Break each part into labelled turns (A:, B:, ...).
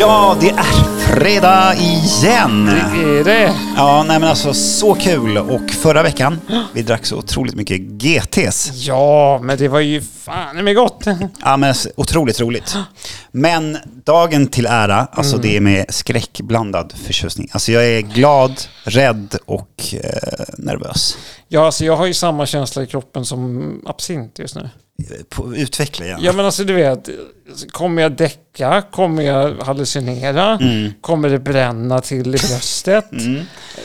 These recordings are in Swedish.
A: Ja, det är fredag igen!
B: Det är det.
A: Ja, nej men alltså så kul! Och förra veckan, vi drack så otroligt mycket GTs.
B: Ja, men det var ju fan i mig gott.
A: Ja, men s- otroligt roligt. Men dagen till ära, alltså det är med skräckblandad förtjusning. Alltså jag är glad, rädd och eh, nervös.
B: Ja, alltså jag har ju samma känsla i kroppen som absint just nu.
A: Eh, På, utveckla igen.
B: Ja, men alltså du vet, kommer jag däcka? Kommer jag hallucinera? Kommer det bränna till i bröstet?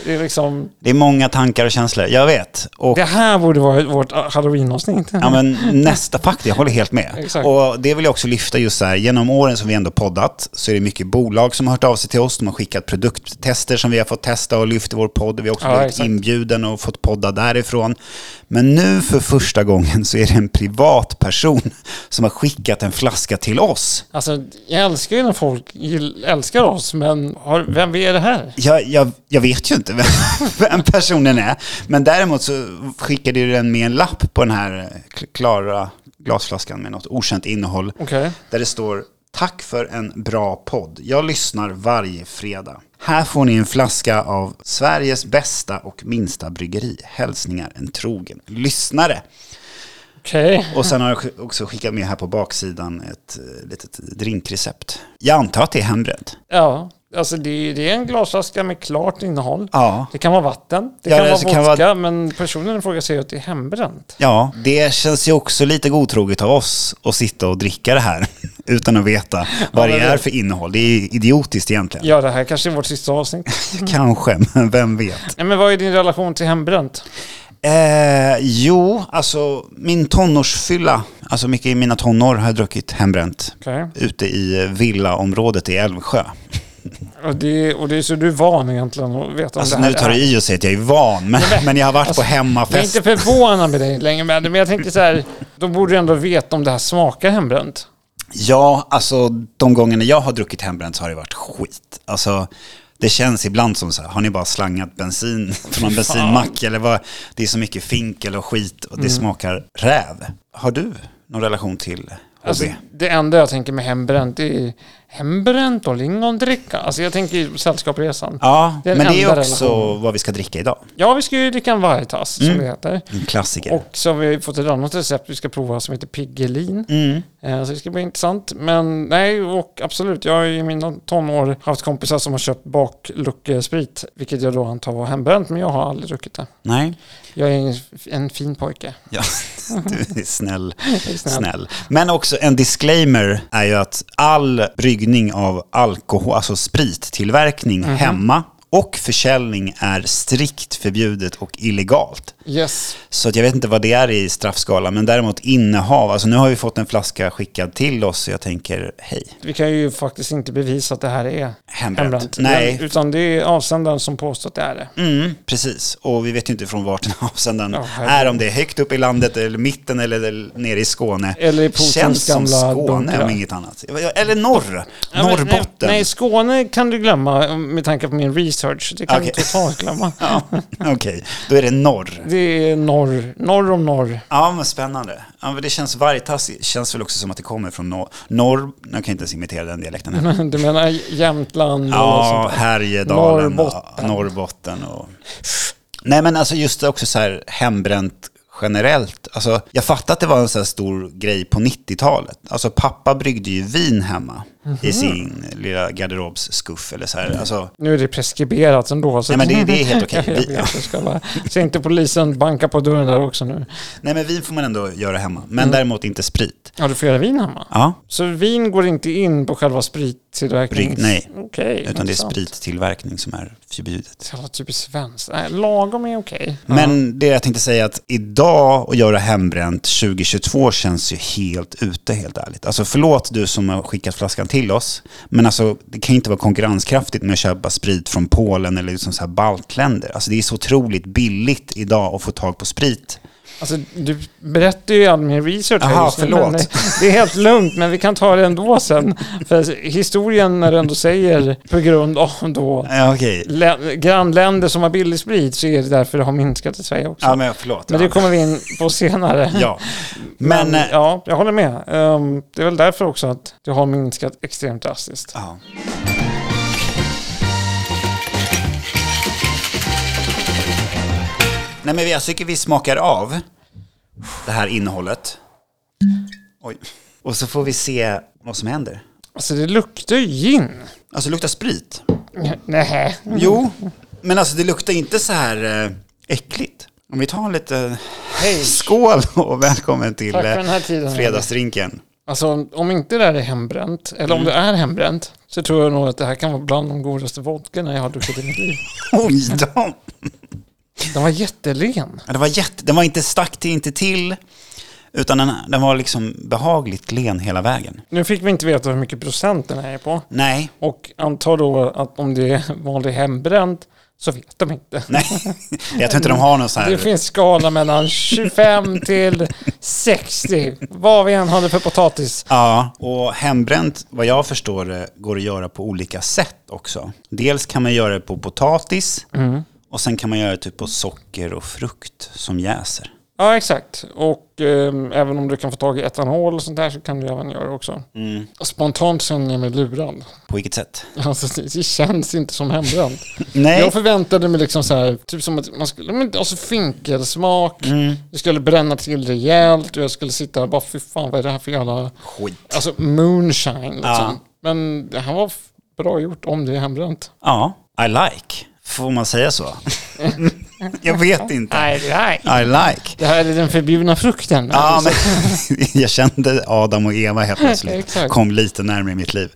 B: Det är liksom,
A: Det är många tankar och känslor, jag vet. Och
B: det här borde vara vårt halloween-avsnitt.
A: Ja men nästa, faktiskt, jag håller helt med.
B: Exakt.
A: Och det vill jag också lyfta just så här, genom åren som vi ändå poddat så är det mycket bolag som har hört av sig till oss, de har skickat produkttester som vi har fått testa och lyft i vår podd. Vi har också
B: Ja,
A: blivit
B: exakt.
A: inbjuden och fått podda därifrån. Men nu för första gången så är det en privatperson som har skickat en flaska till oss.
B: Alltså, jag älskar ju när folk gill- älskar oss, men har, vem är det här?
A: Jag, jag, jag vet ju inte vem, vem personen är, men däremot så skickade ju den med en lapp på den här eh, klara glasflaskan med något okänt innehåll.
B: Okej.
A: där det står Tack för en bra podd. Jag lyssnar varje fredag. Här får ni en flaska av Sveriges bästa och minsta bryggeri. Hälsningar en trogen lyssnare.
B: Okej.
A: Och sen har jag sk- också skickat med här på baksidan ett eh, litet drinkrecept. Jag antar att det är hembränt.
B: Ja, alltså det, det är en glasflaska med klart innehåll.
A: Ja.
B: Det kan vara vatten, det
A: Ja,
B: kan
A: det
B: vara
A: så kan
B: vodka, men personen i fråga säger att det är hembränt.
A: Ja, det känns ju också lite godtroget av oss att sitta och dricka det här utan att veta vad det
B: men det-
A: är för innehåll. Det är ju idiotiskt egentligen.
B: Ja, det här kanske är vårt sista avsnitt.
A: Kanske, men vem vet.
B: Nej, men vad är din relation till hembränt?
A: Eh, jo, alltså min tonårsfylla, alltså mycket i mina tonår har jag druckit hembränt
B: Okej.
A: ute i villaområdet i Älvsjö.
B: Alltså, Och, det, och det är så du är van egentligen att veta om
A: Alltså
B: det här.
A: nu tar
B: är-
A: du i och säger att jag är van, men, men jag har varit på
B: jag är
A: hemmafest.
B: inte förvånad med dig längre, men men jag tänker så här, de borde ju ändå veta om det här smakar hembränt.
A: Ja, alltså de gångerna jag har druckit hembränt så har det varit skit. Alltså det känns ibland som så här, har ni bara slangat bensin från någon bensinmack eller vad? Det är så mycket finkel och skit och det
B: Mm.
A: smakar räv. Har du någon relation till HB?
B: Alltså, det enda jag tänker med hembränt är hembränt och lingondricka. Alltså jag tänker ju Sällskapsresan.
A: Ja,
B: det är den
A: men det är
B: enda
A: också
B: relationen.
A: vad vi ska dricka idag.
B: Ja, vi ska ju dricka en vargtass,
A: Mm.
B: som det heter.
A: En klassiker.
B: Och så har vi fått ett annat recept vi ska prova som heter Piggelin.
A: mm.
B: Eh, Så det ska bli intressant. Men nej, och absolut. Jag har ju i mina tonår haft kompisar som har köpt bakluckesprit, vilket jag då antar var hembränt, men jag har aldrig druckit det.
A: Nej,
B: Jag är en, en fin pojke.
A: ja, du är snäll.
B: Jag är snäll.
A: snäll. Men också en disclaimer är ju att all bryggning av alkohol, alltså sprittillverkning hemma och försäljning är strikt förbjudet och illegalt.
B: Yes.
A: Så att jag vet inte vad det är i straffskala, men däremot innehav. Alltså nu har vi fått en flaska skickad till oss så jag tänker, hej,
B: Vi kan ju faktiskt inte bevisa att det här är
A: hembränt.
B: hembränt.
A: Nej,
B: Men- Utan det är avsändaren som påstår att det är det.
A: Mm, precis, och vi vet ju inte från vart den avsändaren
B: Ja, herregud.
A: är, om det är högt upp i landet eller mitten eller, eller nere i Skåne.
B: Eller i Putins
A: Känns som
B: gamla
A: Skåne
B: bunkrar.
A: om inget annat. Eller norr,
B: Ja, men
A: Norrbotten.
B: Nej, nej, Skåne kan du glömma med tanke på min research. Det kan
A: Okej.
B: du totalt glömma.
A: Ja, Okej, då är det norr.
B: Det är norr, norr om norr.
A: Ja, men spännande. Ja, men det känns vargtass, känns väl också som att det kommer från norr. norr jag kan inte ens imitera den dialekten heller.
B: Du menar Jämtland och
A: Ja,
B: sånt där.
A: Härjedalen, Norrbotten.
B: Norrbotten.
A: Norrbotten och... Nej, men alltså just också så här hembränt generellt. Alltså, jag fattar att det var en så här stor grej på 90-talet. Alltså pappa bryggde ju vin hemma i sin lilla garderobsskuff eller så här. Alltså,
B: Nu är det preskriberat ändå. Så
A: nej, men det, det är helt okej.
B: Jag vet,
A: Vi-
B: jag ska bara... Så inte polisen bankar på dörren där också nu.
A: Nej, men vin får man ändå göra hemma, men däremot inte sprit.
B: Ja, du får göra vin hemma.
A: Ja,
B: Så vin går inte in på själva sprittillverkningen?
A: Brygg- nej.
B: Okej.
A: utan det är
B: intressant.
A: sprittillverkning som är förbjudet.
B: Så jävla typiskt svenskt. Nej, lagom är okej.
A: Men det jag tänkte säga är att idag att göra hembränt 2022 känns ju helt ute helt ärligt. Alltså förlåt du som har skickat flaskan till oss, men alltså det kan ju inte vara konkurrenskraftigt med att köpa sprit från Polen eller liksom så här baltländer. Alltså det är så otroligt billigt idag att få tag på sprit.
B: Alltså, du berättar ju all min research här
A: Aha,
B: just nu,
A: förlåt.
B: men det- Det är helt lugnt, men vi kan ta det ändå sen. För historien när du ändå säger på grund av då
A: Ja, okej.
B: lä- grannländer som har billig sprit så är det därför det har minskat i Sverige också.
A: Ja, men förlåt.
B: men det kommer vi in på senare.
A: Ja, men... eh,
B: ja, jag håller med. Ehm, det är väl därför också att det har minskat extremt drastiskt.
A: Ja. Nej, men jag tycker vi smakar av det här innehållet. Oj. Och så får vi se vad som händer.
B: Alltså det luktar ju gin.
A: Alltså det luktar sprit.
B: Nej.
A: Jo, men alltså det luktar inte så här eh, äckligt. Om vi tar lite
B: Hej.
A: skål och välkommen till
B: Tack för den
A: eh,
B: här tiden.
A: fredagsdrinken.
B: Alltså om- om inte det här är hembränt, eller
A: Mm.
B: om det är hembränt, så tror jag nog att det här kan vara bland de godaste vodkorna jag har druckit i mitt liv.
A: Oj då!
B: Den var jättelen.
A: Ja, Det var jätte, den var inte stack till, inte till, utan den, den var liksom behagligt len hela vägen.
B: Nu fick vi inte veta hur mycket procent den här är på.
A: Nej,
B: Och antar då att om det är vanlig hembränt så vet de inte.
A: nej. Jag tror inte de har någon sån
B: Det
A: här.
B: finns skala mellan 25 till 60. Vad vi än hade för potatis.
A: Ja, och hembränt, vad jag förstår det, går att göra på olika sätt också. Dels kan man göra det på potatis
B: Mm.
A: och sen kan man göra det typ på socker och frukt som jäser.
B: Ja, exakt. Och ehm, även om du kan få tag i etanol och sånt där så kan du även göra det också.
A: Mm.
B: Spontant känner jag mig lurad.
A: På vilket sätt?
B: Alltså, det det känns inte som hembränt.
A: Nej,
B: Jag förväntade mig liksom så här, typ som att man skulle, men alltså finkelsmak,
A: Mm.
B: det skulle bränna till rejält och jag skulle sitta och bara, fy fan vad är det här för jävla,
A: skit.
B: alltså moonshine liksom.
A: Ja.
B: Men det här var f- bra gjort om det är hembränt.
A: Ja, I like. Får man säga så? jag vet inte.
B: Nej, nej.
A: I like.
B: Det här är den förbjudna frukten.
A: Ja,
B: Alltså,
A: men jag kände Adam och Eva helt plötsligt.
B: Exakt.
A: Kom lite närmare mitt liv.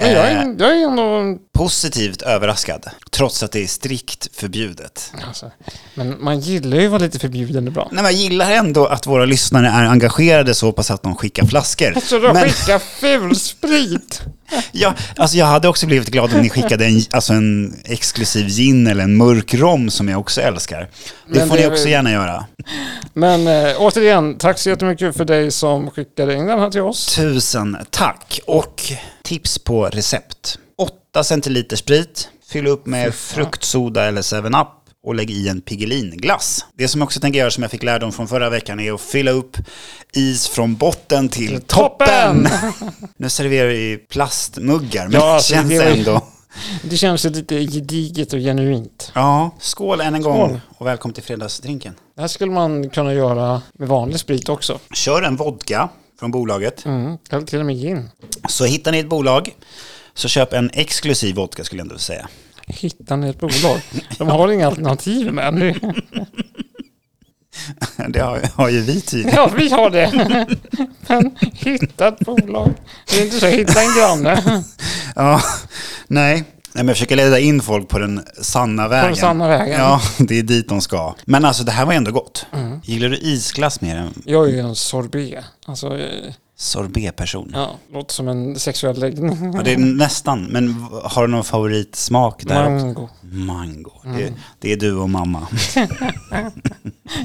B: men jag,
A: Eh,
B: är, jag är ändå,
A: positivt överraskad, trots att det är strikt förbjudet.
B: alltså, men man gillar ju att vara lite förbjuden ibland.
A: Nej, men jag gillar ändå att våra lyssnare är engagerade så pass att de skickar flaskor.
B: Så då
A: Men
B: skicka fulsprit.
A: jag, alltså jag hade också blivit glad om ni skickade en, alltså en exklusiv gin eller en mörk rom som jag också älskar. Det
B: Men
A: får
B: det
A: ni
B: är-
A: också gärna göra.
B: Men eh, återigen, tack så jättemycket för dig som skickade in den här till oss.
A: Tusen tack. Och tips på recept. 8 centiliter sprit. Fyll upp med fruktsoda eller 7-Up och lägg i en Piggelin-glass. Det som jag också tänker göra som jag fick lärdom från förra veckan är att fylla upp is från botten till toppen.
B: toppen!
A: nu serverar vi plastmuggar, men
B: Ja,
A: det
B: alltså,
A: känns
B: det var ju-
A: ändå...
B: Det känns ju lite gediget och genuint.
A: Ja, skål än en gång
B: Skål.
A: och välkommen till fredagsdrinken.
B: Det här skulle man kunna göra med vanlig sprit också.
A: Kör en vodka från bolaget.
B: Mm, eller till och med gin.
A: Så hittar ni ett bolag, så köp en exklusiv vodka skulle jag ändå säga.
B: Hittar ni ett bolag? De har inga alternativ men
A: Det har, har ju vi tydligen.
B: Ja, vi har det. Men hitta ett bolag. Det är inte så, hitta en granne
A: Ja, nej. Nej, men jag försöker leda in folk på den sanna vägen.
B: på den sanna vägen. Mm.
A: Ja, det är dit de ska. Men alltså det här var ändå gott. Gillar du isglass mer än
B: Jag är ju en sorbet. Alltså, eh,
A: sorbetperson? Ja.
B: ja, låter som en sexuell läggning.
A: det är nästan. Men v- har du någon favoritsmak där också?
B: Mango. Mm.
A: Mango. Det, det är du och mamma.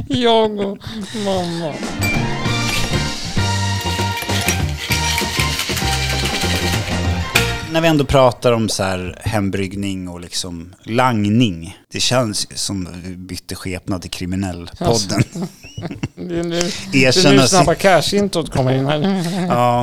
B: Jag och mamma.
A: När vi ändå pratar om så här hembryggning och liksom langning. Det känns som att vi bytte skepnad till kriminellpodden.
B: Det är nu, det är
A: Erkänna sin
B: nu snabba cash-introt kommer in här.
A: Ja,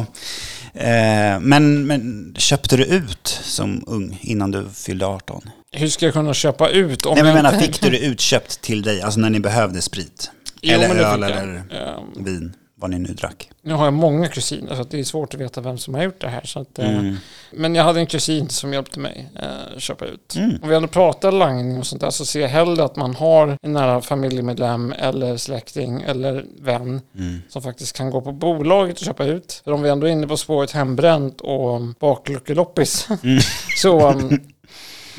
A: eh, men, men köpte du ut som ung innan du fyllde 18?
B: Hur ska jag kunna köpa ut om
A: Nej, men
B: jag
A: jag menar,
B: inte-
A: fick du det utköpt till dig, alltså när ni behövde sprit?
B: Jo,
A: eller
B: men det
A: öl
B: fick jag.
A: eller
B: Ehm,
A: vin, vad ni nu drack.
B: Nu har jag många kusiner så att det är svårt att veta vem som har gjort det här. Så att, eh,
A: Mm.
B: Men jag hade en kusin som hjälpte mig eh, köpa ut.
A: Mm.
B: Om vi hade pratat langning och sånt där så ser jag hellre att man har en nära familjemedlem eller släkting eller vän
A: Mm.
B: som faktiskt kan gå på bolaget och köpa ut. För om vi ändå är inne på spåret hembränt och um, bakluckeloppis
A: Mm.
B: så um,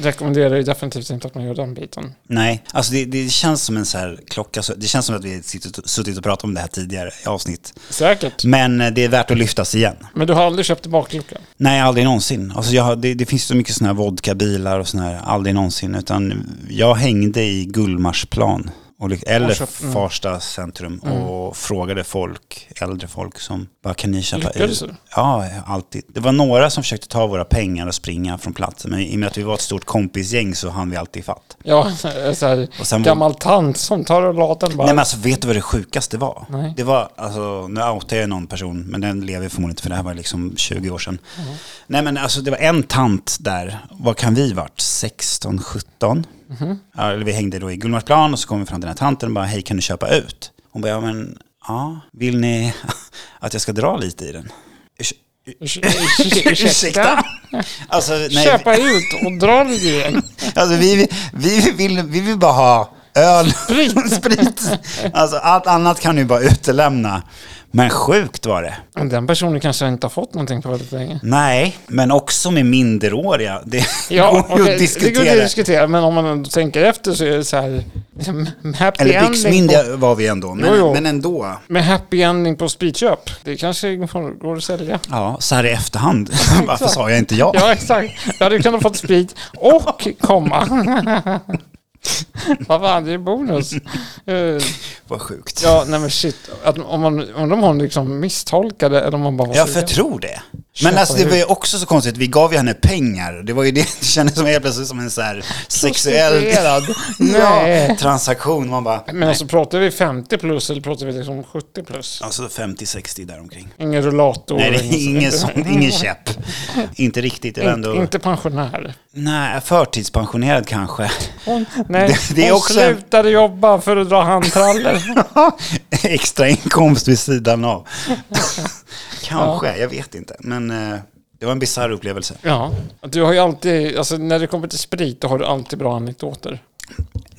B: rekommenderar jag definitivt inte att man gör den biten.
A: Nej, alltså det, det känns som en så här klocka, så- det känns som att vi sitter- suttit och pratat om det här tidigare i avsnitt.
B: Säkert.
A: Men eh, det är värt att lyftas igen.
B: Men du har aldrig köpt en baklucka?
A: Nej, aldrig någonsin. Alltså jag, har- det, det finns så mycket sådana här vodkabilar och sådana här, aldrig någonsin. Utan jag hängde i Gullmarsplan Och, ly- eller
B: Och köp- mm.
A: Farsta centrum och frågade folk, äldre folk som bara kan ni köpa
B: Lyckades du?
A: Ja, alltid. Det var några som försökte ta våra pengar och springa från platsen. Men i och med att vi var ett stort kompisgäng så hann vi alltid fatt.
B: Ja, så här,
A: Och sen var-
B: gammal tant som tar och laten bara.
A: Nej men alltså vet du vad det sjukaste var?
B: Nej.
A: Det var, alltså nu outar jag någon person, men den lever förmodligen inte för det här var liksom 20 år sedan.
B: Mm.
A: Nej men alltså det var en tant där, vad kan vi varit, 16, 17?
B: Mhm.
A: Ja, eller vi hängde då i Gullmarsplan och så kom vi fram till den här tanten och bara, hej kan du köpa ut? Hon bara, ja men, ja, vill ni att jag ska dra lite i den? Ursä-
B: Urs- urs- Ursäkta?
A: Alltså, nej,
B: Köpa ut och dra lite igen.
A: alltså vi, vi, vill, vi vill bara ha öl
B: Sprit.
A: sprit. Alltså allt annat kan du bara utelämna. Men sjukt var det.
B: Den personen kanske inte har fått någonting på väldigt länge.
A: Nej, men också med minderåriga. Det
B: Ja,
A: går ju
B: okej,
A: att
B: det går att
A: diskutera.
B: diskutera, men om man ändå tänker efter så är det så här... m- Happy
A: Eller
B: ending på,
A: byxmyndiga var vi ändå, men,
B: Jo, jo.
A: men ändå.
B: med happy ending på spritköp. Det kanske går går att sälja.
A: Ja, så här i efterhand. Varför sa jag inte ja?
B: Ja, exakt. Jag hade kunnat fått sprit och komma. Vad fan, det är bonus. Eh,
A: Vad sjukt.
B: Ja, nej men shit. Att, om, man, om de har liksom misstolkade eller om man bara var
A: Jag
B: sugen.
A: förtror det. Men
B: Köpa
A: alltså, det var ju
B: ut.
A: också så konstigt, vi gav ju henne pengar. Det var ju det, det kändes som helt plötsligt som en så här sexuell
B: Prostituerad.
A: ja,
B: Nej.
A: transaktion. Man bara,
B: Men alltså pratar vi 50 plus eller pratar vi liksom 70 plus?
A: alltså 50-60 däromkring.
B: Ingen rullator?
A: Nej, det
B: ingen-
A: är ingen, sån, ingen käpp. Inte riktigt. Det var
B: Inte,
A: ändå,
B: inte pensionär.
A: nej, förtidspensionerad kanske.
B: Hon, nej,
A: Det- det är
B: hon
A: också-
B: slutade jobba för att dra handtrallor.
A: Extra inkomst vid sidan av. kanske, jag vet inte. Men eh, det var en bisarr upplevelse.
B: ja, du har ju alltid, alltså när det kommer till sprit, då har du alltid bra anekdoter.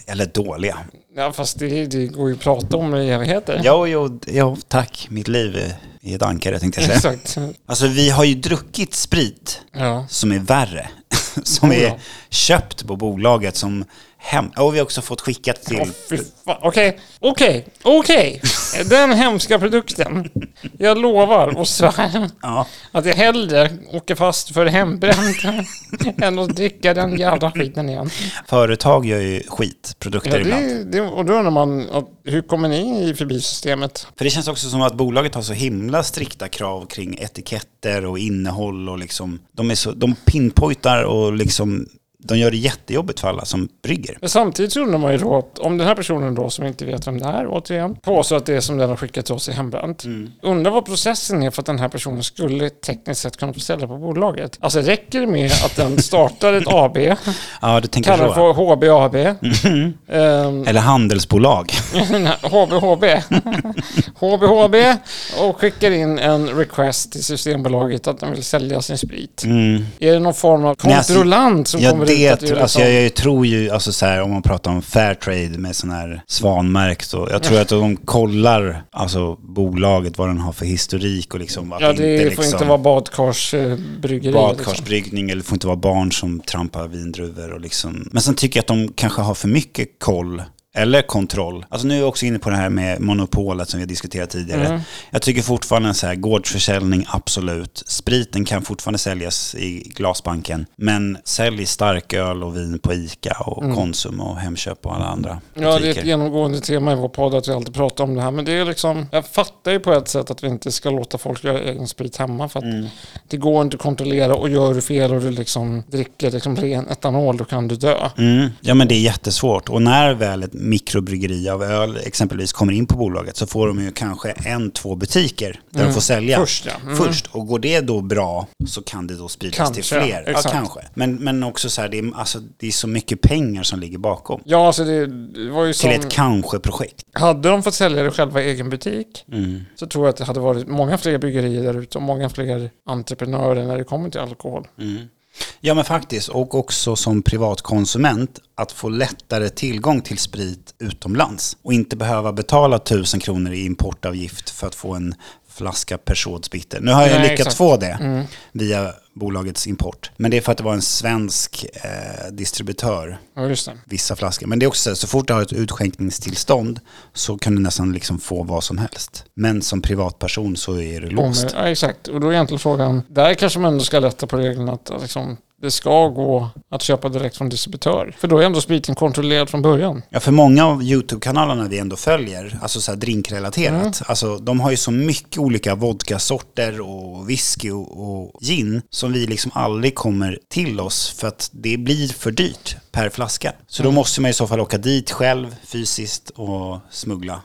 A: Eller dåliga.
B: Ja, fast det, det går ju att prata om i evigheter.
A: Jo, jo, jo tack. Mitt liv är- är ett ankare tänkte jag säga.
B: Exakt.
A: Alltså vi har ju druckit sprit
B: Ja.
A: som är värre. Som
B: Oh,
A: är
B: ja.
A: köpt på bolaget som hem... Och vi har också fått skickat
B: Åh,
A: till...
B: fy fan. Okej, okej, okej. Den hemska produkten. Jag lovar och svär
A: Ja.
B: att jag hellre åker fast för hembränt än att dricka den jävla skiten igen.
A: Företag gör ju skitprodukter
B: Ja,
A: ibland.
B: det, det, och då undrar man, att, hur kommer ni förbi systemet?
A: För det känns också som att bolaget har så himla strikta krav kring etiketter och innehåll och liksom, de, är så, de pinpointar och liksom, de gör det jättejobbigt för alla som brygger.
B: Men samtidigt så undrar man ju då att om den här personen då som inte vet vem det är återigen påstår att det är som den har skickat till oss i hembränt. Undrar vad processen är för att den här personen skulle tekniskt sett kunna få sälja på bolaget. Alltså räcker det med att den startar ett AB,
A: Ja, du tänker
B: kallar det
A: så.
B: för HB AB, ehm,
A: Eller handelsbolag.
B: nej, HB HB, HB HB och skickar in en request till Systembolaget att den vill sälja sin sprit.
A: Mm.
B: Är det någon form av
A: Nej, alltså,
B: kontrollant som
A: Ja,
B: kommer
A: det,
B: ut? att är
A: tro- alltså,
B: liksom-
A: jag, jag tror ju, alltså, så här, om man pratar om fair trade med sån här svanmärkt, och, jag tror att de kollar alltså, bolaget, vad den har för historik och liksom, att
B: Ja, det
A: inte,
B: får
A: liksom,
B: inte vara badkarsbryggeri. liksom.
A: badkarsbryggning eller får inte vara barn som trampar vindruvor och liksom. Men sen tycker jag att de kanske har för mycket koll eller kontroll. Alltså nu är jag också inne på det här med monopolet som vi har diskuterat tidigare.
B: Mm.
A: Jag tycker fortfarande så här, gårdsförsäljning absolut. Spriten kan fortfarande säljas i glasbanken. Men sälj starköl och vin på ICA och Konsum och Hemköp och alla andra
B: Mm. Ja, det är
A: butiker.
B: ett genomgående tema i vår podd att vi alltid pratar om det här. Men det är liksom, jag fattar ju på ett sätt att vi inte ska låta folk göra egen sprit hemma. För att
A: Mm.
B: det går inte att kontrollera och gör du fel och du liksom dricker liksom ren etanol, då kan du dö.
A: Mm. Ja men det är jättesvårt. Och när väl ett mikrobryggeri av öl exempelvis kommer in på bolaget så får de ju kanske en, två butiker där de får sälja.
B: Först, ja. Mm.
A: Först. Och går det då bra så kan det då spridas till
B: Kanske,
A: fler. Ja,
B: exakt.
A: kanske. Men, men också så här, det är, alltså, det är så mycket pengar som ligger bakom.
B: Ja, alltså det, det var ju
A: Till
B: som...
A: ett kanske-projekt.
B: Hade de fått sälja det själva i egen butik
A: Mm.
B: så tror jag att det hade varit många fler bryggerier där ute och många fler entreprenörer när det kommer till alkohol.
A: Mm. Ja men faktiskt, och också som privatkonsument att få lättare tillgång till sprit utomlands och inte behöva betala 1000 kronor i importavgift för att få en flaska Persauds bitter. Nu har jag
B: Nej,
A: lyckats
B: exakt.
A: få det
B: Mm.
A: via bolagets import. Men det är för att det var en svensk eh, distributör,
B: Ja, just det.
A: vissa flaskor. Men det är också så, här, så fort du har ett utskänkningstillstånd så kan du nästan liksom få vad som helst. Men som privatperson så är du låst.
B: Om- Ja, exakt. Och då är egentligen frågan, där kanske man ändå ska lätta på reglerna att liksom, det ska gå att köpa direkt från distributör. För då är ändå spriten kontrollerad från början.
A: Ja, för många av YouTube-kanalerna vi ändå följer, alltså så här drinkrelaterat,
B: Mm.
A: alltså de har ju så mycket olika vodkasorter och whisky och, och gin som vi liksom aldrig kommer till oss för att det blir för dyrt per flaska. Så
B: Mm.
A: då måste man i så fall åka dit själv fysiskt och smuggla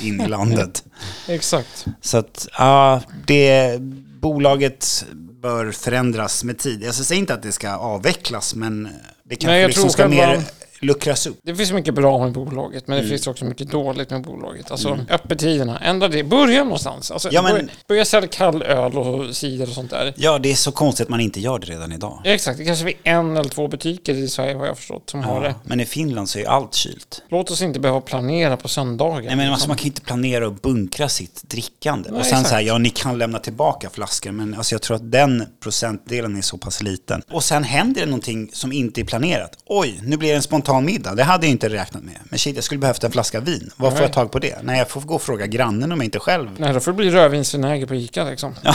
A: in i landet.
B: Exakt.
A: Så att, ja, det bolaget bör förändras med tid. Jag säger inte att det ska avvecklas, men det kanske
B: Nej, jag
A: liksom
B: tror
A: ska
B: själva-
A: mer luckras upp.
B: Det finns mycket bra med bolaget,
A: Mm.
B: men det finns också mycket dåligt med bolaget. Alltså öppettiderna, ändra det. Börja någonstans. Alltså,
A: Ja, men-
B: börja, börja sälja kall öl och cider och sånt där.
A: Ja, det är så konstigt att man inte gör det redan idag.
B: Exakt, det kanske är en eller två butiker i Sverige vad jag har förstått som har det.
A: Men i Finland så är ju allt kylt.
B: Låt oss inte behöva planera på söndagar.
A: Nej, men alltså, man kan ju inte planera och bunkra sitt drickande.
B: Nej,
A: och sen så här,
B: exakt.
A: ja ni kan lämna tillbaka flaskor, men alltså, jag tror att den procentdelen är så pass liten. Och sen händer det någonting som inte är planerat. Oj, nu blir det en spontan middag. Det hade jag inte räknat med. Men shit, jag skulle behövt en flaska vin. Var får
B: Nej.
A: jag tag på det? Nej, jag får gå och fråga grannen om jag inte själv
B: Nej, då får det bli rödvinsvinäger på Ica liksom.
A: Ja,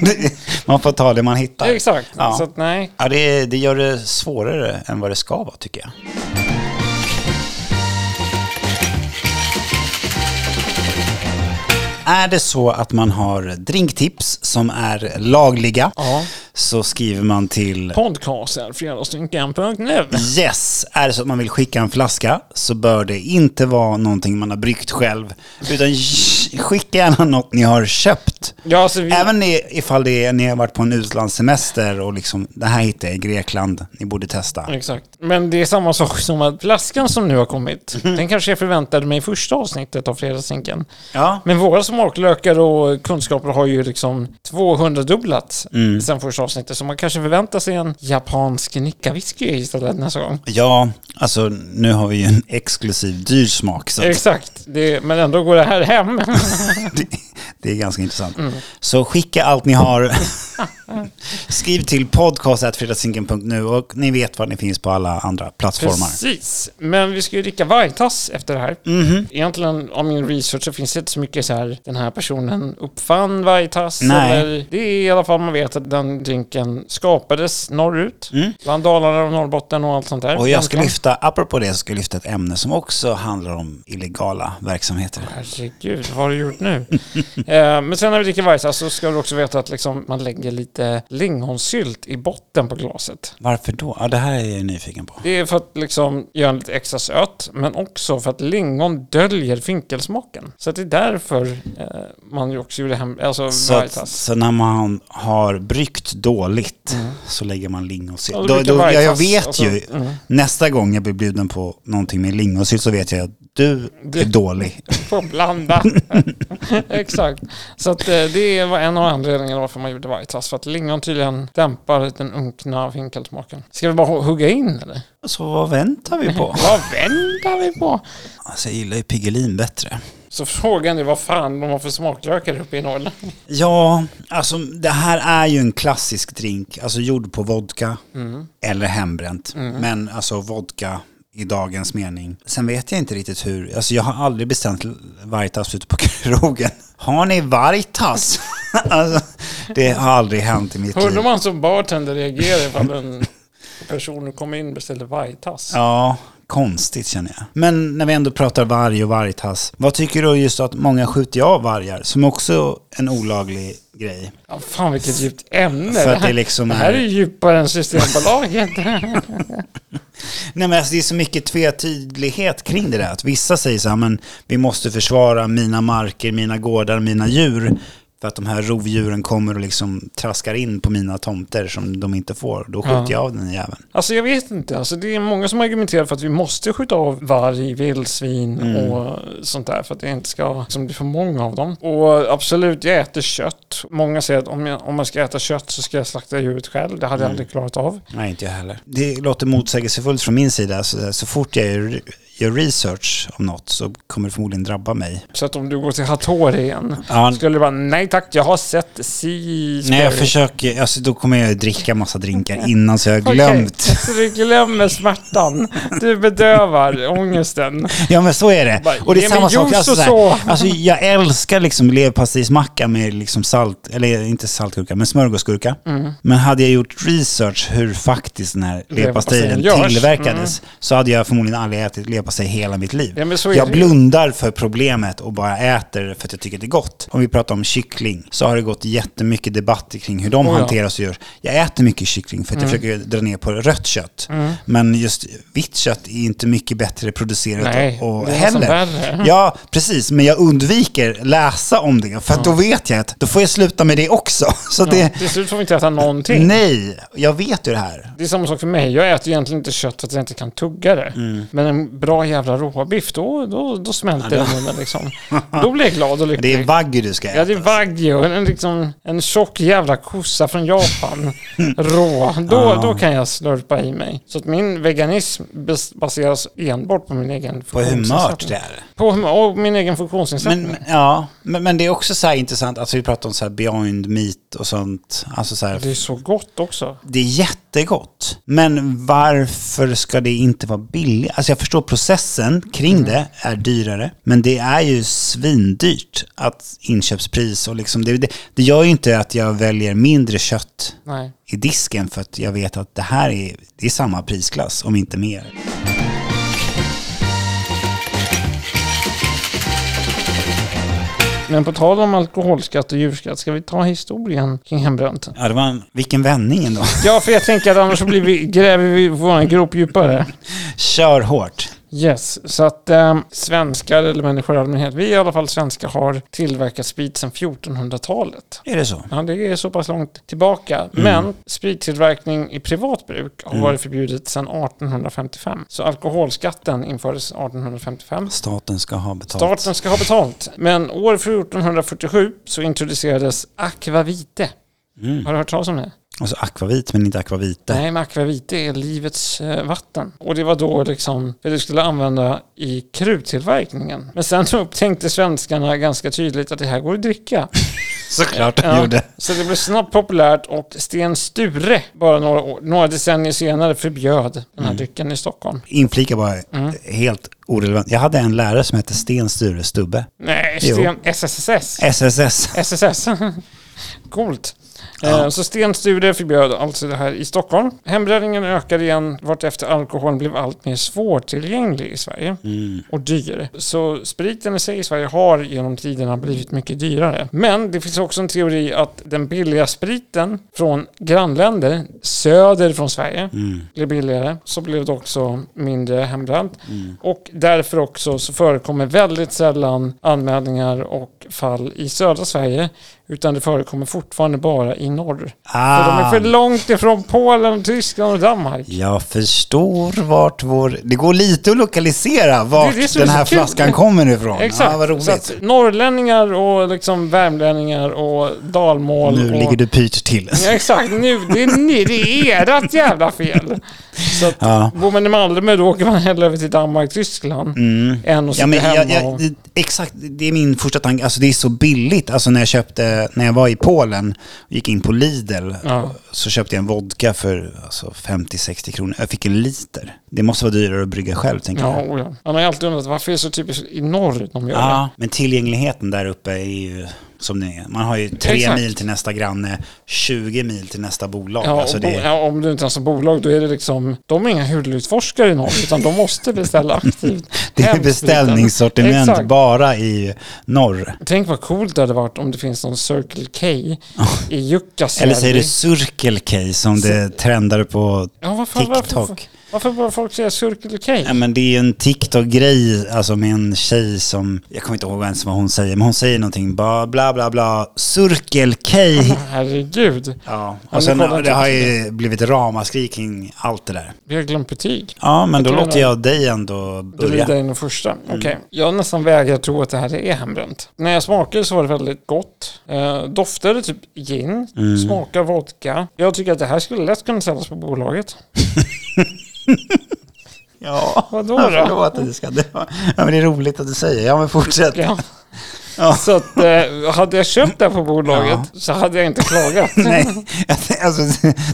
A: det- man får ta det man hittar.
B: Exakt,
A: Ja.
B: så att nej.
A: Ja, det, det gör det svårare än vad det ska vara tycker jag. Är det så att man har drinktips som är lagliga
B: Ja.
A: så skriver man till
B: Podcasten, fredagsdrinken.nu.
A: Yes, är det så att man vill skicka en flaska så bör det inte vara någonting man har bryggt själv. Utan sh- skicka gärna något ni har köpt.
B: Ja, alltså, vi,
A: Även i- ifall det är, ni har varit på en utlandssemester och liksom, det här hittade jag i Grekland, ni borde testa.
B: Exakt. Men det är samma sak som att flaskan som nu har kommit,
A: Mhm.
B: den kanske jag förväntade mig i första avsnittet av Fredagsdrinken.
A: Ja,
B: Men våra smaklökar och kunskaper har ju liksom 200-dubblats
A: Mm.
B: sen första avsnittet, så man kanske förväntar sig en japansk nicka-whisky istället nästa gång.
A: ja alltså nu har vi ju en exklusiv dyr smak så att
B: Exakt, det, men ändå går det här hem.
A: det, det är ganska intressant.
B: Mm.
A: Så skicka allt ni har. Skriv till podcast.fredagsinken.nu och ni vet var ni finns på alla andra plattformar.
B: Precis, men vi ska ju dricka Vaitas efter det här.
A: Mhm.
B: Egentligen, av min research, så finns det inte så mycket så här, den här personen uppfann Vaitas.
A: Nej.
B: Eller, det är i alla fall man vet att den drinken skapades norrut,
A: Mm.
B: bland Dalarna och Norrbotten och allt sånt där.
A: Och jag ska
B: Egentligen.
A: lyfta, apropå det, så ska jag lyfta ett ämne som också handlar om illegala verksamheter.
B: Herregud, vad har du gjort nu? eh, men sen när vi dricker Vaitas så ska du också veta att liksom, man lägger lite lingonsylt i botten på glaset.
A: Varför då? Ja, det här är jag nyfiken på.
B: Det är för att liksom göra lite extra söt, men också för att lingon döljer finkelsmaken. Så att det är därför eh, man ju också gjorde hem, alltså
A: Så, att,
B: vargtass.
A: så när man har bryggt dåligt så lägger man lingonsylt.
B: Mm. Ja,
A: Då,
B: du
A: då,
B: Alltså, brukar
A: jag, jag
B: vargtass,
A: vet
B: alltså,
A: ju,
B: mm.
A: nästa gång jag blir bjuden på någonting med lingonsylt så vet jag att du
B: Du-
A: är dålig.
B: Får blanda. Exakt. Så att eh, det var en av anledningarna varför man gjorde vargtass. För att lingon tydligen dämpar den unkna finkelsmaken. Ska vi bara hu- hugga in eller?
A: Så vad väntar vi på?
B: Vad väntar vi på?
A: Alltså, jag gillar ju Piggelin bättre.
B: Så frågan är vad fan de har för smaklökar uppe i Norrland.
A: Ja, alltså det här är ju en klassisk drink, alltså gjord på vodka
B: Mm.
A: eller hembränt. Men alltså vodka i dagens mening. Sen vet jag inte riktigt hur, alltså jag har aldrig bestämt Vargtass ute på krogen. Har ni Vargtass? alltså, det har aldrig hänt i mitt
B: Hörde
A: liv.
B: man som bartender reagera ifall en person kom in och beställde vargtass?
A: Ja, konstigt känner jag. Men när vi ändå pratar varg och vargtass, vad tycker du just att många skjuter av vargar, som också är en olaglig grej?
B: Ja, fan vilket djupt ämne.
A: För
B: det,
A: att
B: här,
A: det liksom
B: det här är
A: är-
B: ju djupare än Systembolaget.
A: Nej men alltså det är så mycket tvetydighet kring det där. Att vissa säger så här, men vi måste försvara mina marker, mina gårdar, mina djur. För att de här rovdjuren kommer och liksom traskar in på mina tomter som de inte får. Då skjuter
B: Ja.
A: jag av den jäveln.
B: alltså jag vet inte. Alltså, det är många som argumenterar för att vi måste skjuta av varg, vildsvin
A: Mm.
B: och sånt där för att det inte ska liksom, bli för många av dem. Och absolut, jag äter kött. Många säger att om, jag, om man ska äta kött så ska jag slakta djuret själv. Det hade
A: Mm.
B: jag aldrig klarat av.
A: Nej, inte jag heller. Det låter motsägelsefullt från min sida. Så, så fort jag är gör research om något så kommer det förmodligen drabba mig.
B: Så att om du går till Hattori igen,
A: Ja,
B: skulle du bara nej tack, jag har sett Sea
A: när jag
B: Spirit."
A: försöker, alltså då kommer jag ju dricka massa drinkar innan så jag har
B: Okej,
A: glömt.
B: så du glömmer smärtan. Du bedövar ångesten.
A: Ja men så är det.
B: Bara,
A: Och det
B: ge
A: är samma
B: mig
A: sak.
B: juice
A: Alltså,
B: och
A: så här,
B: så.
A: alltså, jag älskar liksom leverpastejsmacka med liksom salt, eller inte saltgurka, men smörgåsgurka.
B: Mm.
A: Men hade jag gjort research hur faktiskt den här leverpastejen
B: görs. Mm.
A: tillverkades så hade jag förmodligen aldrig ätit leverpastej hela mitt liv.
B: Ja, men så är
A: jag
B: det ju.
A: blundar för problemet och bara äter det för att jag tycker det är gott. Om vi pratar om kyckling så har det gått jättemycket debatter kring hur de
B: Oh ja. Mm.
A: hanteras och görs. Jag äter mycket kyckling för att jag försöker dra ner på rött kött. Men just vitt kött är inte mycket bättre producerat
B: Nej,
A: och
B: det är nästan
A: heller.
B: värre.
A: Ja, precis. Men jag undviker läsa om det. För att då vet jag att då får jag sluta med det också. Så
B: Ja,
A: det...
B: till slut får vi inte äta någonting.
A: Nej, jag vet ju det här.
B: Det är samma sak för mig. Jag äter ju egentligen inte kött för att jag inte kan tugga det.
A: Mm.
B: Men en bra jävla råbiff, då, då, då smälter det i munnen liksom. Då blir jag glad och
A: Det
B: lycklig.
A: är wagyu du ska äta.
B: Ja, det är Wagyu. En, en, liksom, en tjock jävla kossa från Japan. Rå. Då,
A: Ah.
B: då kan jag slurpa i mig. Så att min veganism bas- baseras enbart på min egen
A: På hur mört
B: funktionsnedsättning.
A: det är.
B: På humör och min egen funktionsnedsättning.
A: Men, ja, men, men det är också så här intressant, alltså vi pratar om så här beyond meat och sånt. Alltså så här,
B: Det är så gott också.
A: det är jättegott. Men varför ska det inte vara billigt? Alltså jag förstår processen kring det är dyrare. Men det är ju svindyrt att inköpspris och liksom det, det, det gör ju inte att jag väljer mindre kött
B: Nej.
A: i disken för att jag vet att det här är, det är samma prisklass, om inte mer.
B: Men på tal om alkoholskatt och djurskatt, ska vi ta historien kring hembränt?
A: Ja, det var en, vilken vändning ändå.
B: Ja, för jag tänker att annars så blir vi, gräver vi vår grop djupare.
A: Kör hårt.
B: Yes, så att eh, svenskar eller människor i allmänhet, vi i alla fall svenskar har tillverkat sprit sedan 1400-talet.
A: Är det så?
B: Ja, det är så pass långt tillbaka. Men sprittillverkning i privat bruk har varit förbjudet sedan 1855. Så alkoholskatten infördes 1855.
A: Staten ska ha betalt.
B: Staten ska ha betalt. Men år 1447 så introducerades akvavite. Har du hört talas om det?
A: Alltså akvavit, men inte akvavite.
B: Mm. Nej, men akvavite är livets eh, vatten. Och det var då liksom det du skulle använda i kruttillverkningen. Men sen så upptänkte svenskarna ganska tydligt att det här går att dricka.
A: Såklart de
B: Ja.
A: gjorde.
B: Så det blev snabbt populärt och Sten Sture, bara några, år, några decennier senare, förbjöd den här drycken i Stockholm.
A: Inflika bara,
B: Mm.
A: helt orelevant. Jag hade en lärare som hette Sten Sture Stubbe.
B: Nej,
A: Jo.
B: Sten SSSS.
A: SSS.
B: SSS. Coolt.
A: Ja.
B: Eh, Så Sten Sture förbjöd alltså det här i Stockholm. Hembränningen ökade igen vartefter alkoholen blev allt mer svårtillgänglig i Sverige och dyr. Så spriten i sig i Sverige har genom tiderna blivit mycket dyrare. Men det finns också en teori att den billiga spriten från grannländer söder från Sverige blev billigare. Så blev det också mindre hembränt. Och därför också så förekommer väldigt sällan anmälningar och fall i södra Sverige. Utan det förekommer fortfarande bara i norr. För de är
A: Ah,
B: för långt ifrån Polen, Tyskland och Danmark.
A: jag förstår vart vår... Det går lite att lokalisera vart
B: Det är det som
A: den
B: är så
A: här
B: kul.
A: flaskan kommer ifrån.
B: Exakt.
A: Ah, vad
B: Så
A: roligt.
B: att norrlänningar och liksom värmlänningar och dalmål.
A: Nu
B: och...
A: ligger du pyrt till.
B: Ja, exakt, nu, det är, ni, det är ert jävla fel. Så att,
A: Ja.
B: bor man i Malmö då åker man hellre över till Danmark, Tyskland. Än att
A: Mm. Ja,
B: sitta
A: men
B: hemma
A: jag, jag,
B: och...
A: det- exakt, det är min första tanke. Alltså det är så billigt. Alltså när jag köpte, när jag var i Polen och gick in på Lidl
B: Ja.
A: så köpte jag en vodka för alltså, 50-60 kronor. Jag fick en liter. Det måste vara dyrare att brygga själv tänker
B: Ja,
A: jag.
B: oh ja. Han har ju alltid undrat varför det är så typiskt i norr de gör det.
A: Ja, men tillgängligheten där uppe är ju som den är. Man har ju tre
B: Exakt.
A: mil till nästa granne, 20 mil till nästa bolag.
B: Ja,
A: alltså
B: och
A: det
B: bo, ja, om du inte ens har bolag då är det liksom, de är inga hudlutforskare i norr utan de måste beställa aktivt.
A: det är
B: Hemskt
A: beställningssortiment
B: liten. Exakt.
A: bara i norr.
B: Tänk vad coolt det hade varit om det finns någon Circle K i Jukkasjärvi.
A: Eller säger du Circle K som det trendar på
B: ja, varför, Varför,
A: TikTok?
B: varför börjar folk säga Circle K?
A: Ja, men det är ju en TikTok-grej, alltså med en tjej som, jag kommer inte ihåg ens vad hon säger, men hon säger någonting, bara bla bla bla, Circle K.
B: Herregud,
A: Ja,
B: men
A: och sen
B: kolla inte
A: det har
B: på
A: ju blivit ramaskri kring allt det där.
B: vi har glömt betyg.
A: Ja, men då
B: tror jag
A: låter jag dig ändå
B: Du blir
A: börja. Mm.
B: den första. Okej. Jag nästan vägrar tro att det här är hembränt. När jag smakade så var det väldigt gott. Eh, doftade typ gin,
A: Mm.
B: smakar vodka. Jag tycker att det här skulle lätt kunna säljas på bolaget.
A: Ja,
B: Vadå
A: jag
B: då?
A: förlåt att du ska... det var- Ja, men det är roligt att du säger. Ja, men fortsätt.
B: Ja.
A: Ja.
B: Så att, eh, hade jag köpt det här på bolaget så hade jag inte klagat.
A: Nej, alltså,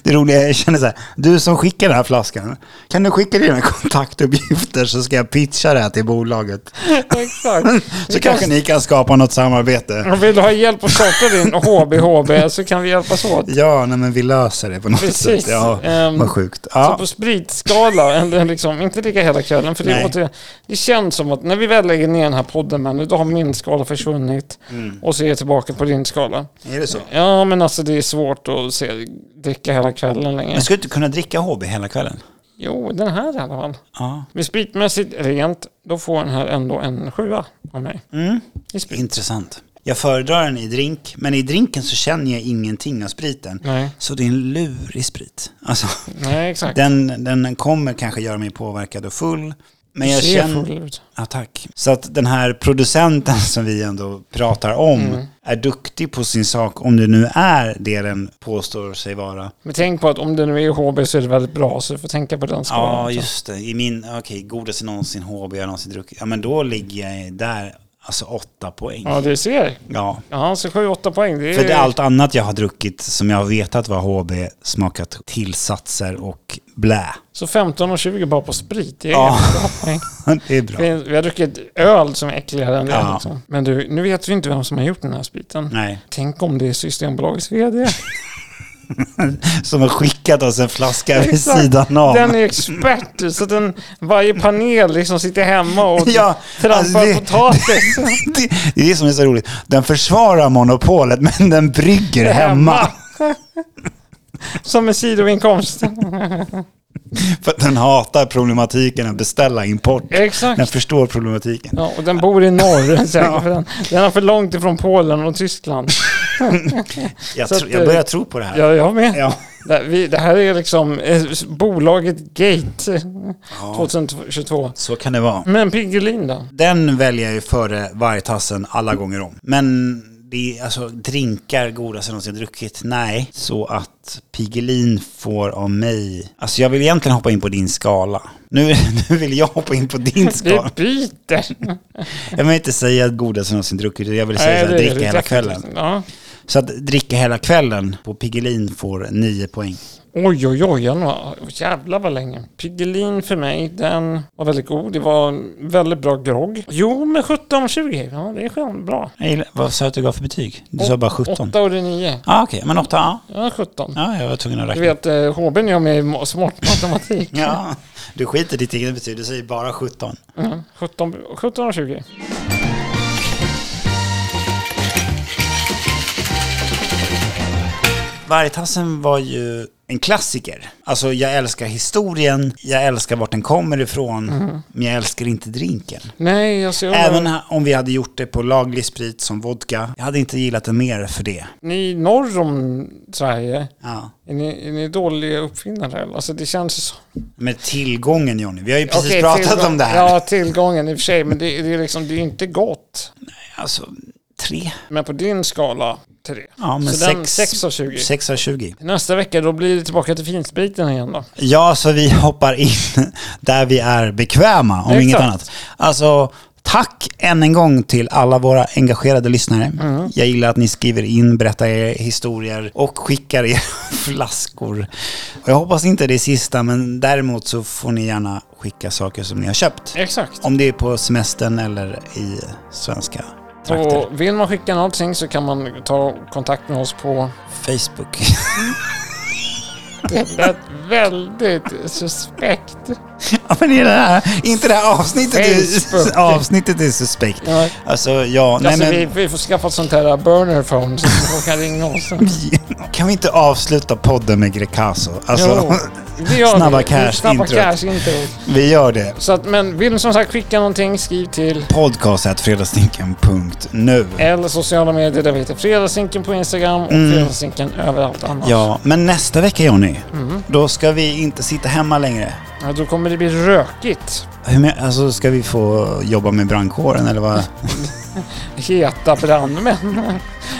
A: det roliga är, jag känner så här, du som skickar den här flaskan, kan du skicka dina kontaktuppgifter så ska jag pitcha det här till bolaget.
B: Exakt.
A: Så kanske ni kan skapa något samarbete.
B: Om vill du ha hjälp att starta din HBHB så kan vi hjälpas åt.
A: Ja, nej, men vi löser det på något sätt.
B: Precis.
A: Ja,
B: Ehm,
A: vad sjukt.
B: Så
A: Ja,
B: på spritskala, eller liksom, inte ligga hela kvällen, för det,
A: Nej.
B: återigen, det känns som att när vi väl lägger ner den här podden, men då har min skala försvunnit
A: Mm.
B: och så är jag tillbaka på din skala.
A: är det så?
B: Ja, men alltså det är svårt att se, dricka hela kvällen längre.
A: Men skulle du inte kunna dricka HB hela kvällen?
B: Jo, den här i alla fall.
A: Ja.
B: Men spritmässigt rent, då får den här ändå en sjua av mig.
A: Mm.
B: I sprit.
A: Intressant. Jag föredrar den i drink, men i drinken så känner jag ingenting av spriten.
B: Nej,
A: Så det är en lurig sprit. Alltså,
B: nej exakt.
A: den, den kommer kanske göra mig påverkad och full. Men jag
B: Ser
A: känner...
B: full ut.
A: Ja, tack. Så att den här producenten som vi ändå pratar om är duktig på sin sak, om det nu är det den påstår sig vara.
B: Men tänk på att om det nu är HB så är det väldigt bra, så du får tänka på den skalan.
A: Ja,
B: också.
A: just det. I min, okej, godaste någonsin HB jag någonsin druckit. Ja, men då ligger jag där, alltså åtta poäng.
B: Ja,
A: Ja.
B: det ser. Ja, så 7-8 poäng. Det är...
A: För det är allt annat jag har druckit som jag har vetat var HB smakat tillsatser och blä.
B: Så 15 och 20 bara på sprit, det är
A: Ja.
B: jävligt bra poäng.
A: Det är bra.
B: Vi- Vi har druckit öl som är äckligare än det.
A: Ja.
B: Liksom. Men du, nu vet vi inte vem som har gjort den här spriten.
A: Nej,
B: Tänk om det är Systembolagets vd.
A: som har skickat oss en flaska vid
B: Exakt.
A: sidan av.
B: Den är expert, så den, varje panel liksom sitter hemma och
A: Ja,
B: trampar
A: alltså det-
B: potatis
A: Det, det är det som är så roligt. Den försvarar monopolet men den brygger hemma.
B: som en sidoinkomst.
A: För att den hatar problematiken att beställa import. Den
B: Exakt.
A: förstår problematiken.
B: Ja, och den bor i norr. Säkert, för den, den är för långt ifrån Polen och Tyskland.
A: Jag,
B: Så
A: tro,
B: att,
A: jag börjar tro på det här.
B: Ja, jag med.
A: Ja.
B: Det, vi, det här är liksom eh, s- bolaget Gate eh, 2022.
A: Så kan det vara.
B: Men Piggelin då?
A: Den väljer jag ju före vargtassen alla gånger om. Men det är alltså drinkar godaste jag någonsin druckit. Nej, så att Pigelin får av mig... Alltså jag vill egentligen hoppa in på din skala. Nu, nu vill jag hoppa in på din
B: Vi
A: skala.
B: byter.
A: Jag vill inte säga godaste jag någonsin druckit. Jag vill säga
B: Nej,
A: så här,
B: det är liksom.
A: dricka
B: det
A: hela
B: definitivt.
A: kvällen.
B: Ja.
A: Så att dricka hela kvällen på Piggelin får 9 poäng.
B: Oj, oj, oj. Den var, jävlar vad länge. Piggelin för mig, den var väldigt god. Det var en väldigt bra grogg. Jo, men 17-20. Ja, det är skönt. Bra.
A: Jag gillar, vad sa du att du gav för betyg? Du sa bara 17. Ja,
B: 8 och 9.
A: ah, okej. Men 8, ja.
B: Ja, 17.
A: Ja, jag var tvungen att
B: Du
A: räkna.
B: vet, eh, HB gör mig i ma- smart matematik.
A: Ja, du skiter i ditt eget betyg. Du säger bara 17.
B: Mm, 17, 17 och 20.
A: Vargtassen var ju en klassiker. Alltså, jag älskar historien. Jag älskar vart den kommer ifrån. Men jag älskar inte drinken.
B: Nej, alltså jag undrar-
A: Även om vi hade gjort det på laglig sprit som vodka. Jag hade inte gillat den mer för det.
B: Ni norr om Sverige,
A: Ja.
B: är ni, är ni dåliga uppfinnare? eller? Alltså det känns ju så.
A: Med tillgången Johnny. Vi har ju precis
B: Okej,
A: pratat
B: tillgång-
A: om det här.
B: Ja, tillgången i och för sig, men det, det, är liksom, det är inte gott.
A: Alltså, tre.
B: Men på din skala, tre.
A: Ja, men
B: så den,
A: sex-
B: 6 av 20.
A: 6 av 20.
B: Nästa vecka, då blir det tillbaka till finspriten igen då.
A: Ja, så vi hoppar in där vi är bekväma, om
B: Exakt.
A: inget annat. Alltså, tack än en gång till alla våra engagerade lyssnare.
B: Mm.
A: Jag gillar att ni skriver in, berättar er historier och skickar er flaskor. Och jag hoppas inte det är sista, men däremot så får ni gärna skicka saker som ni har köpt.
B: Exakt.
A: Om det är på semestern eller i svenska trakter.
B: Och vill man skicka någonting så kan man ta kontakt med oss på...
A: Facebook.
B: Det lät väldigt suspekt.
A: ja, men det är det här, inte det här avsnittet.
B: Facebook.
A: Är, avsnittet är suspekt.
B: Ja.
A: Alltså, ja, nej,
B: alltså,
A: men...
B: vi, vi får skaffa ett sånt här burner phone så folk kan ringa oss.
A: Kan vi inte avsluta podden med Grecaso? Alltså,
B: Jo, det gör
A: snabba
B: vi.
A: cash
B: snabba
A: introt.
B: cash intro.
A: vi gör det.
B: Så att, men vill ni som sagt skicka någonting, skriv till
A: Podcastetfredagstinken.nu
B: eller sociala medier där vi heter Fredagssinken på Instagram och Fredagssinken överallt annars.
A: Mm. Ja, men nästa vecka Jonny,
B: Mhm.
A: då ska vi inte sitta hemma längre.
B: Ja, Då kommer det bli rökigt.
A: Hur men, alltså, ska vi få jobba med brandkåren eller vad?
B: Heta brandmän.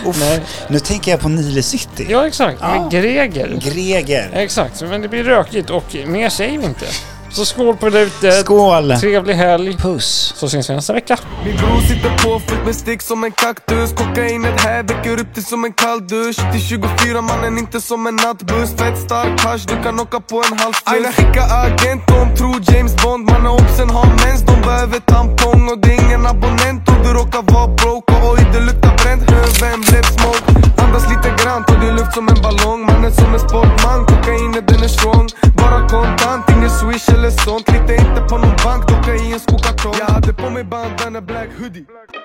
A: Uff,
B: Nej.
A: nu tänker jag på Nile City.
B: Ja, exakt. Med
A: Ja.
B: Greger.
A: Greger.
B: Exakt, men det blir rökigt och mer säger vi inte. Så skål på lutet.
A: Skål!
B: Trevlig helg.
A: Puss!
B: Så syns vi nästa vecka.
C: Min bror sitter påfylld med stick som en kaktus Kokainet här väcker upp dig som en kall dusch Till 24 mannen inte som en nattbuss Fett stark hasch, du kan åka på en halv Aina skickar agent, de tror James Bond Mannen oddsen har mens, de behöver tampong Och det är ingen abonnent och du råkar vara broke Och oj, det luktar bränt, vem blev smoke? Andas lite grann, tar du luft som en ballong Mannen som en sportman, kokainet den är strong Bara kontant, ingen swish eller sånt Lita inte på någon bank, docka i en skokartong Jag hade på mig bandana, black hoodie